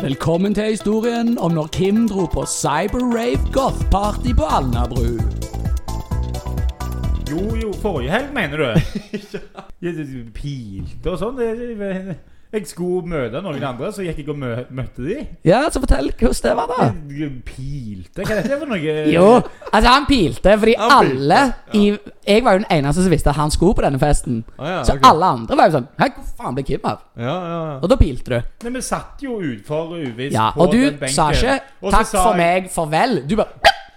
Velkommen til historien om når Kim dro på cyberrave goth-party på Alnabru. Jo, jo, forrige helg, mener du? ja. Pilte og sånn. det- Jeg skulle møte noen andre, så gikk jeg og mø møtte de. Ja, så fortell hvordan det var, da. Pilte? Hva er dette for noe? Jo, altså han pilte fordi Han pilte, alle i Jeg var jo den eneste som visste at han skulle på denne festen. Ah, ja, Så ok. alle andre var jo sånn Hæ, hvor faen ble Kim av? Ja, ja, ja. Og da pilte du. Nei, vi satt jo utfor uvisst Ja, på Og du den benken. sa ikke Og så 'takk sa for jeg- meg, farvel'. Du bare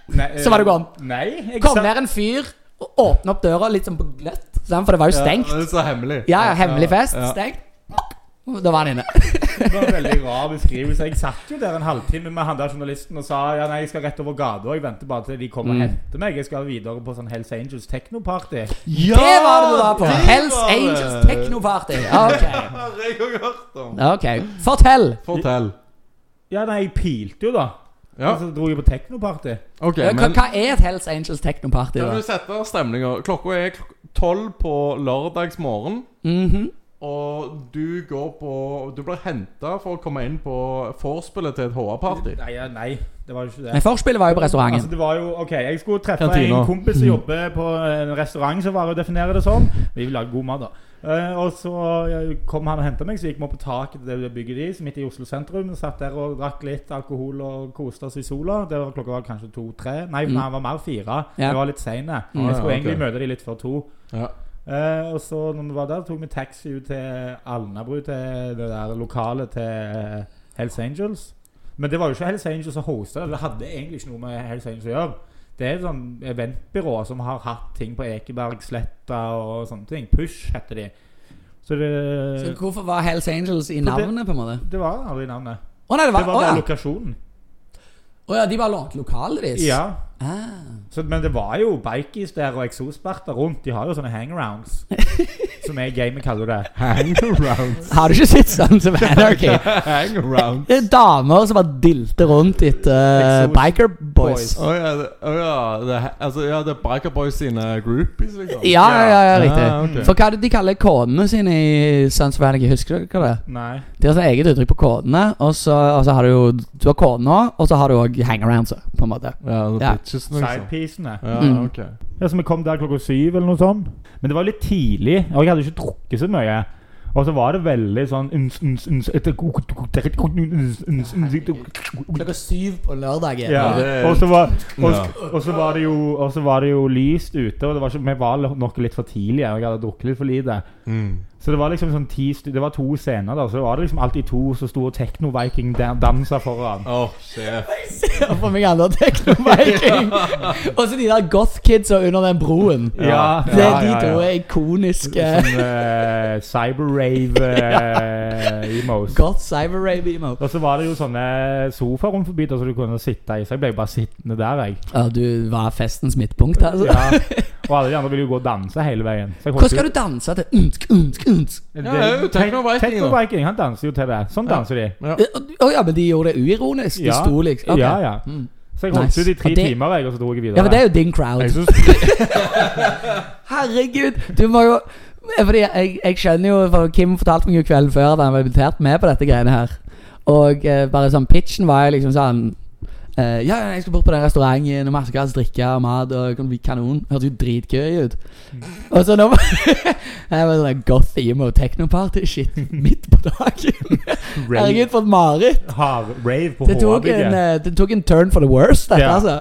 Nei, eh, Så var det gone. Nei, jeg Kom satt- ned en fyr og åpne opp døra litt sånn på gløtt, sant? for det var jo stengt. Ja, det er så hemmelig. Ja, ja, hemmelig fest, Ja. stengt. Da var han inne. Det var en veldig rar beskrivelse. Jeg satt jo der en halvtime med han der journalisten og sa ja, nei, jeg skal rett over gata. og Jeg venter bare til de kommer Mm. og henter meg. Jeg skal videre på sånn Hells Angels technoparty. Ja, Det var det du var på! det Hells var det. Angels Technoparty. Ok, Har jeg òg hørt om. ok. Fortell. Fortell. Ja, nei, jeg pilte jo, da. Ja, Og så dro jeg på technoparty. OK, Hva, men hva er et Hells Angels Technoparty? kan da? du sette stemninger? Klokka er klok- tolv på lørdagsmorgen, Mhm. og du går på Du blir henta for å komme inn på vorspielet til et HR-party. Nei, ja, nei, det var jo ikke det. Nei, Forspillet var jo på restauranten. Altså, det var jo, ok, Jeg skulle treffe Kantina. en kompis Mm. som jobber på en restaurant, som var det å definere det sånn. Vi vil lage god mat, da. Eh, og så eh, kom han og henta meg, så gikk vi opp på taket til det bygget deres, midt i Oslo sentrum. og Satt der og drakk litt alkohol og koste oss i sola. Det var, klokka var kanskje to-tre. Nei, Mm. nei, han var mer fire. Ja. Vi var litt seine. Mm. Jeg skulle Ah, ja, ok. egentlig møte de litt før to. Ja. Eh, og så når vi var der, tok vi taxi ut til Alnabru, til det der lokalet til eh, Hells Angels. Men det var jo ikke Hells Angels som hosta det. Det hadde egentlig ikke noe med Hells Angels å gjøre. Det er et sånn eventbyrå som har hatt ting på Ekebergsletta og sånne ting. Push heter de. Så det eh, Så hvorfor var Hells Angels i navnet, på en måte? Det var aldri navnet. Å nei, det var Det var Å bare ja. lokasjonen. Å ja, de bare lånte lokalet deres? Ja. Ah. Så, men det var jo bikies der og eksosparter rundt. De har jo sånne hangarounds, som jeg i gamet kaller det. Hangaround. Har du ikke sett Sons of Anarchy? Hangaround. Det er damer som bare dilter rundt etter eh, Exos- biker boys. boys. Å ja, det, å ja, det, er- altså, ja, det er Biker Boys sine groupies, liksom? Ja, ja, ja, ja riktig. Ah, ok. For hva er det de kaller kodene sine i Sons of Anarchy? Husker dere det? Nei. De har sånn eget uttrykk på kodene, og så, og så har du jo Du har kodene òg, og så har du òg hangarounds, på en måte. Ja, det Ja. er bitchesene, liksom. Sidepiecene. Ja, Mm. ok. Ja, så vi kom der klokka syv eller noe sånt. Men det var litt tidlig, og jeg hadde ikke drukket så mye. Og så var det veldig sånn uns, uns, uns, etter- uns, uns, uns, Klokka syv på lørdagen. ja, det er- og så var, og, Ja. og så var det jo Og så var det jo lyst ute, og det var ikke, vi var nok litt for tidlige. og Jeg hadde drukket litt for lite. Mm. Så det var liksom sånn ti stu- Det var to scener, da. Så det var det liksom alltid to som sto og techno-viking-dansa foran. Åh, sjef. Ja, for meg andre teknoviking. og så de der goth kidsa under den broen. Ja, Det er de to er ikoniske Sånn eh, cyber-rave-emos. goth cyber-rave-emo. Og så var det jo sånne sofaer rundt forbi der som du kunne sitte i. Så jeg ble jo bare sittende der, jeg. Ja, du var festens midtpunkt, altså. Ja. Og alle de andre ville jo gå og danse hele veien. Så jeg Hvor skal du danse til unsk, unsk, unsk? Det- Ja, det er jo Techno-Viking, da. Techno-Viking, han danser jo til det. Sånn danser de. Ja. Å ja, men de gjorde det uironisk. De Ja. sto liksom ok. Ja, ja. Mm. Så jeg holdt Nice. ut i tre Og det- timer, jeg, og så dro jeg videre. Ja, men det er jo din crowd. jeg synes, Herregud, du må jo Fordi jeg, jeg skjønner jo for Kim fortalte meg jo kvelden før at han var invitert med på dette greiene her. Og eh, bare sånn pitchen var jo liksom sånn eh, Ja, ja, jeg skal bort på den restauranten og masse gratis drikke og mat og det kan bli kanon. Hørtes jo dritgøy ut. Og så nå Jeg var sånn goth emo technoparty shit midt på dagen. rave, Herregud, for et mareritt. hav, rave på Det tok, en, Håabygget. eh, det tok en turn for the worst, dette, Ja. altså.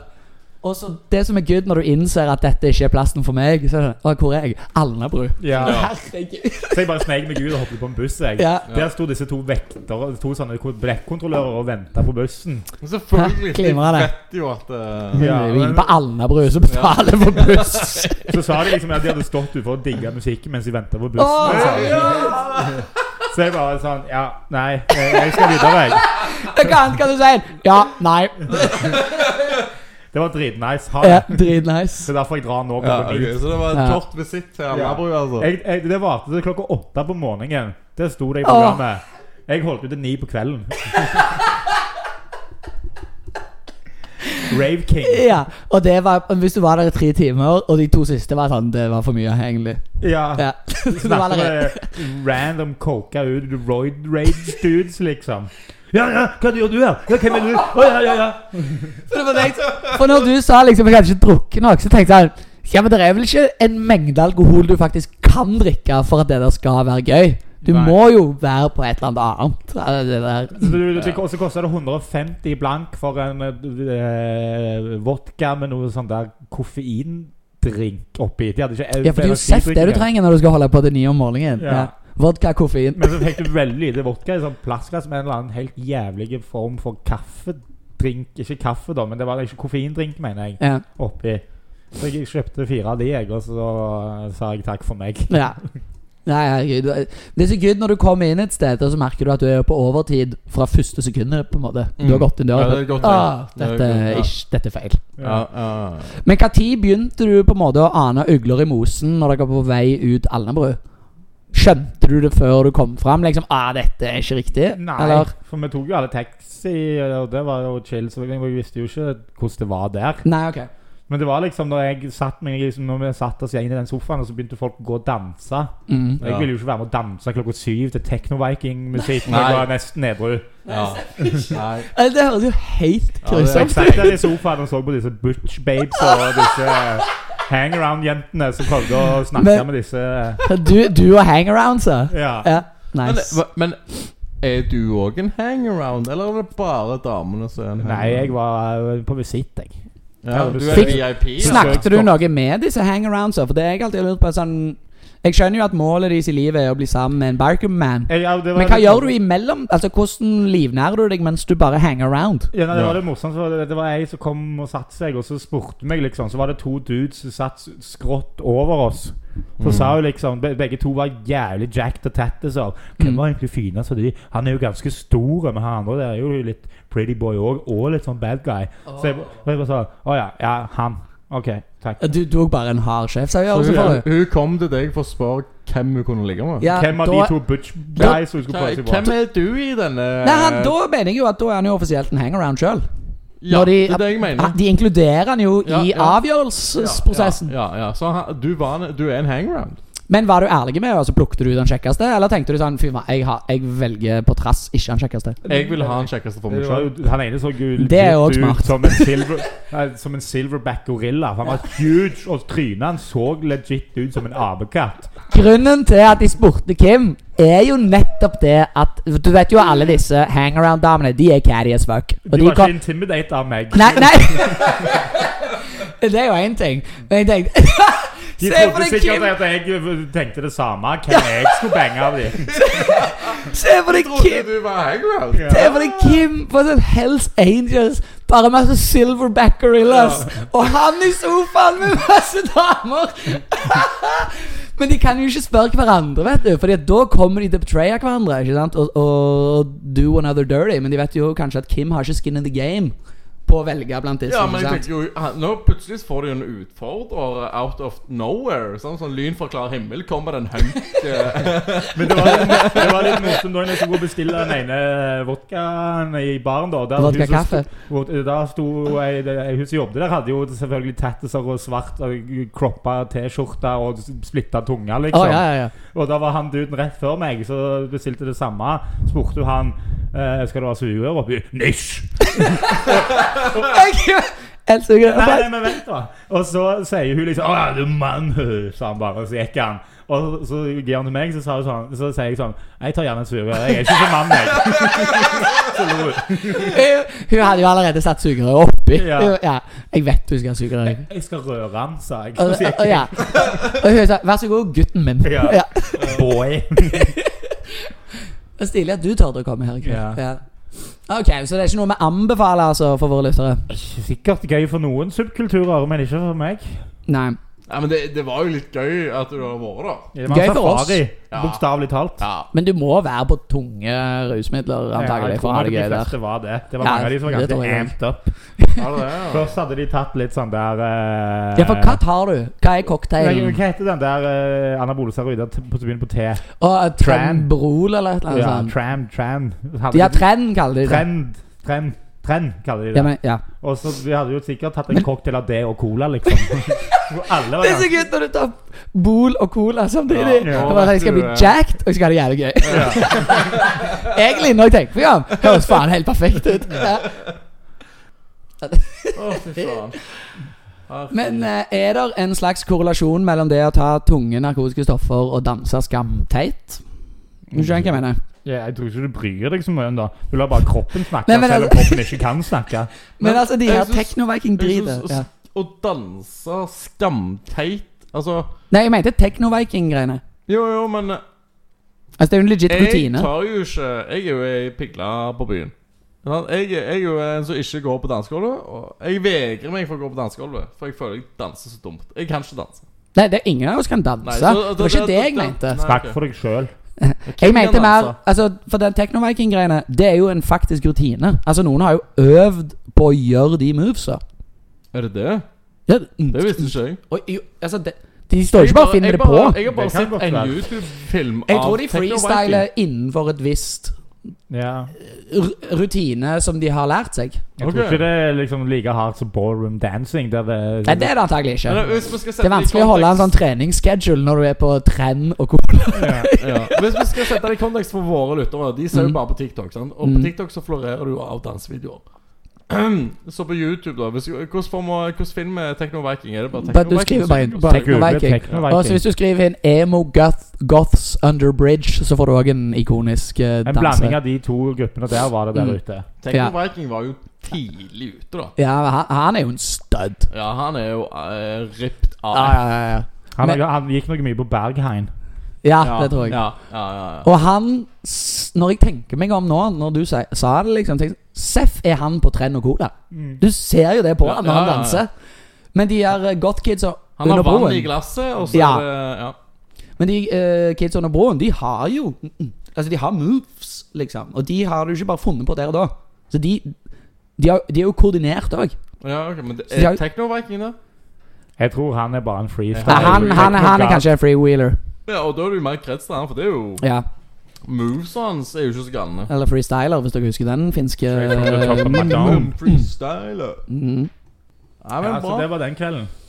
Og så det som er good når du innser at dette ikke er plassen for meg, så er det sånn, «Å, Hvor er jeg? Alnabru. Ja. Herregud. Så jeg bare snek meg ut og hoppet på en buss, jeg. Ja. Der sto disse to vektere, to sånne blekkkontrollører og venta på bussen. Men Selvfølgelig. Hæ? Glimrende. De vet jo at eh, Ja, vi er men- inne på Alnabru, som betaler for buss. Så sa de liksom at de hadde stått utenfor og digga musikken mens de venta på bussen. Åh, og sånn. Så jeg bare sånn Ja, nei, jeg jeg skal videre, jeg. Hva annet kan du si? Ja, nei. Det var dritnice. Ha Ja, det. Dritnice. Så derfor jeg drar nå. ja, klokka ni. ok, Så det var Ja. en kort visitt til Alnabru, altså. jeg, jeg, det varte til klokka åtte på morgenen. Der sto det i programmet. Jeg holdt ut til ni på kvelden. Rave King. Ja, og det var Hvis du var der i tre timer, og de to siste var sånn Det var for mye, egentlig. Ja. Ja. Så du var Snakker der med random coka ut roid rage dudes, liksom. Ja, ja, hva gjør du her? Ja, hvem er du? Å, ja, ja, ja. For, det var det jeg- for når du sa liksom jeg hadde ikke drukket nok, så tenkte jeg ja, men det er vel ikke en mengde alkohol du faktisk kan drikke for at det der skal være gøy. Du Nei. må jo være på et eller annet annet. eller Det der. Så du- det- Og så koster det 150 blank for en eh, vodka med noe sånn der koffeindrink oppi. De hadde ikke Ja, for det er jo seff det du trenger når du skal holde på til ni om morgenen. Ja. Ja. Vodka, koffein. Men så fikk du veldig lite vodka i sånn plastglass med en eller annen helt jævlig form for kaffedrink. Ikke kaffe, da, men det var ikke koffeindrink, mener jeg, Ja. oppi. Så jeg kjøpte fire av de, jeg, og så sa jeg takk for meg. ja. Nei, herregud. Det er så gøy når du kommer inn et sted, og så merker du at du er på overtid fra første sekundet, på en måte. Du har Mm. gått inn Ja, døra. det er og godt, tenkt, ah, ja. Det er dette, godt, ja. er ikke, dette er feil. Ja, ja. Men hva tid begynte du på en måte å ane ugler i mosen når dere var på vei ut Alnabru? Skjønte du det før du kom fram? Liksom, ah, dette er ikke riktig? Nei, Eller? for vi tok jo alle taxi, og det var jo chill, så jeg visste jo ikke hvordan det var der. Nei, ok. Men det var liksom når jeg satt meg liksom, Når vi satt oss igjen i den sofaen, og så begynte folk å gå og danse. Mm. Jeg Ja. ville jo ikke være med å danse klokka syv til Techno-Viking-musikk. når Nei. Jeg var nesten edru. ja. Nei. Eh, Det høres jo helt Ja, det er Så jeg grusomt satt ut. der i sofaen og så på disse Butch Babes og disse eh, hangaround-jentene som prøvde å snakke Men- Eh. med disse eh, Du, du og hangarounds, ja. Ja. ja. Men, Nice. hva- men er du òg en hangaround, eller er det bare damene som er en Nei, jeg var eh, på visitt, jeg. ja, Du er Fikk- VIP. da. Snakket du noe med disse hangaroundsa? For det er jeg alltid har lurt på. Sånn, jeg skjønner jo at målet deres i livet er å bli sammen med en Barkerman. jeg ja, det var liksom- Men hva litt- sånn- gjør du imellom? Altså, Hvordan livnærer du deg mens du bare hanger around? Ja, nei, det Ja. var det morsomt, for det, det var ei som kom og satte seg, og så spurte meg, liksom. Så var det to dudes som satt s- skrått over oss. Så Mm. sa hun liksom be- Begge to var jævlig jacked og tattis av. Hvem Mm. var egentlig finest av de? Han er jo ganske stor, men han andre der er jo litt pretty boy òg, og litt sånn bad guy. Så jeg, ba- og jeg bare sa Å ja, ja, han. OK, takk. Du tok bare en hard sjefsavgjørelse altså, Hun, for det. hun kom til deg for å spørre hvem hun kunne ligge med. Ja, Hvem av da- de to butch guys som hun skulle Hva- prøve seg Hvem på? er du i denne Nei, han, Da mener jeg jo at da er han jo offisielt en hangaround sjøl. Ja, når de- det er det jeg mener. De inkluderer han jo Ja, i ja. avgjørelsesprosessen. Ja, ja, ja. Så han, du, var en, du er en hangaround? Men var du ærlig med henne, og så plukket du den kjekkeste? Eller tenkte du sånn Fy faen, jeg, har- jeg velger på trass ikke han kjekkeste. Jeg vil ha den kjekkeste for meg Det var sjøl. jo, han ene så gul Det er jo gutt også smart. ut som en, silver, nei, som en silverback gorilla. For han var huge, og trynet hans så legit ut som en apekatt. Grunnen til at de spurte Kim, er jo nettopp det at Du vet jo alle disse hangaround-damene. De er catty as fuck. Og De de var kom, ikke intimidated av meg. nei, nei. det er jo én ting. Men jeg tenkte De Se på trodde deg, Kim! sikkert at jeg eh, tenkte det samme. Hvem jeg skulle bange av de. Se på deg, Kim! du var hangaround. Ja. Det er fordi Kim på sånn Hells Angels bare masse silverback gorillas. Og han i sofaen med masse damer! Men de kan jo ikke spørre hverandre, vet du. Fordi at da kommer de til å betraye hverandre. Ikke sant? Og, og do another dirty. Men de vet jo kanskje at Kim har ikke skin in the game på å velge blant disse. Ja, men ikke jeg sant? tenker jo han- Nå plutselig får du jo en utfordrer out of nowhere. Sånn som lyn fra klar himmel kommer den hunk eh, Men det var litt, det var litt morsomt da jeg skulle gå og bestille den ene vodkaen i baren. da der Vodka hun som kaffe. sto- hvor- Da sto ei- det- Hun som jobbet der, hadde jo selvfølgelig tattiser og svart og kroppa T-skjorte og splitta tunge, Å, liksom. sånn. ja, ja, ja. Og da var han duden rett før meg, så bestilte det samme. Spurte jo han eh, Skal det være sugerør oppi. Nisj! Jeg elsker det. Nei, nei, men vent da Og så sier hun liksom Åh, du mann, hø», sa han bare Og så gikk han Og så gir han til meg Så, sa hun sånn, så sier jeg sånn Jeg tar gjerne en sur Jeg er ikke så mann, jeg Så lo hun Hun hun hadde jo allerede satt sugerøret oppi. Ja. Hun- Ja. Jeg vet du skal ha sugerør. Jeg skal røre han, sa jeg Og, Så sier og, ja. og hun sa 'vær så god, gutten min'. Ja. Ja. jeg Boy Det er Stilig at du tørde å komme her i kveld. Ja. Ja. Ok, Så det er ikke noe vi anbefaler altså, for våre lyttere? Ikke Sikkert gøy for noen subkulturer Men ikke for meg Nei. Ja, men det, det var jo litt gøy at du har vært der. Det var en Gøy for oss. safari, Ja. Bokstavlig talt Ja. Men du må være på tunge rusmidler antagelig jeg for å tror ha nok det de gøy der. fleste var det Det var Ja, mange av de som var det tror ganske jeg. amped up Var det det? Ja. Først hadde de tatt litt sånn der eh, Ja, for hva tar du? Hva er Nei, cocktailen? Hva heter den der uh, anabole steroider t- På begynner på T Og Tran. Trembrol eller et eller annet Ja, sånt? tram, tram. Hadde Ja, Tren kaller sånn- de det. trend, trend, trend kaller de det. Ja, men, ja. og så vi hadde jo sikkert tatt en cocktail av det og cola, liksom. Hvor alle var Det er så gøy når du tar Bol og Cola samtidig. Ja, ja. Jeg bare, jeg skal bli jacked, og jeg skal ha det jævlig gøy. Egentlig, når jeg tenker på det, høres faen helt perfekt ut. Ja. Å, fy faen. Herregud. Men eh, er det en slags korrelasjon mellom det å ta tunge narkotiske stoffer og danse skamteit? Du skjønner hva jeg mener? Ja, jeg tror ikke du bryr deg så mye om det. Du lar bare kroppen snakke, Nei, men selv om altså- kroppen ikke kan snakke. Men altså, de her jeg synes- jeg Techno-Viking-driter synes ja. Å danse skamteit Altså Nei, jeg mente Techno-Viking-greiene. Jo, jo, men Altså, det er jo en legit jeg rutine. tar jo ikke Jeg er jo ei pigle på byen. Sant? Jeg, jeg er jo en som ikke går på dansegulvet. Og jeg vegrer meg for å gå på dansegulvet, for jeg føler jeg danser så dumt. Jeg kan ikke danse. Nei, det er ingen av oss kan danse. Nei, så- det var ikke det jeg da- mente. Nei, Snakk ok. for deg sjøl. Jeg Hvem mente kan mer danse? altså, For den Techno-Viking-greiene, det er jo en faktisk rutine. Altså, noen har jo øvd på å gjøre de movesa. Er det det? Ja, Det visste ikke jeg. og, jo, altså, de, de står jo ikke bare og finner jeg det på. Jeg har bare Det kan sett godt en være. YouTube-film Jeg tror de Techno Viking. freestyler innenfor et visst Ja. r- rutine som de har lært seg. Jeg Ok. tror ikke det er liksom like hardt som ballroom dancing. Der det, Nei, det er det antagelig ikke. Men hvis vi skal sette sånn- Det er vanskelig å holde en sånn kontekst- treningsschedule når du er på tren og cola. ja. Hvis vi skal sette det i kontekst for våre lyttere De ser jo Mm. bare på TikTok, sant? Og Mm. på TikTok så florerer du av dansevideoer. så på YouTube, da hvis, hvordan, får man, hvordan finner vi Techno Viking? Er det bare Bare- Techno du skriver bare inn- bare- Google Viking. Og så Techno-Viking. Hvis du skriver inn emo goth, goths under bridge, så får du òg en ikonisk eh, En blanding danse. av de to gruppene der var det der Mm. ute. Techno ja. Viking var jo tidlig ute, da. Ja, han, han er jo en stud. Ja, han er jo eh, ripped av. Ah, Ja, ja, ja, ja. Han, Men- han gikk noe mye på Berghain. ja, Ah, det tror jeg. Ja, ja, ja, ja. Og han s- Når jeg tenker meg om nå, når du sa, sa det, liksom tenker, jeg, Seff er han på Trenn og Cola. Du ser jo det på Ja, han når han ja, ja. danser. Men de her eh, goth-kidsa Han under har vann i broen glasset, og så Ja. er det ja. Men de uh, kidsa under broen, de har jo Altså, de har moves, liksom. Og de har du ikke bare funnet på der og da. Så de De, har, de er jo koordinert òg. Ja, ok, men det, Så de har- er Techno Viking der? Jeg tror han er bare en freestyle. Ja, Han, han, han, er Techno-god. kanskje en freewheeler. Ja, og da er du mer krets til han, for det er jo Ja. Moves hans er jo ikke så galne. Eller freestyler, hvis dere husker den finske Mm. Freestyler, top of my dome. Freestyler. Mhm. Nei, Ja, men så det var bra. den kvelden.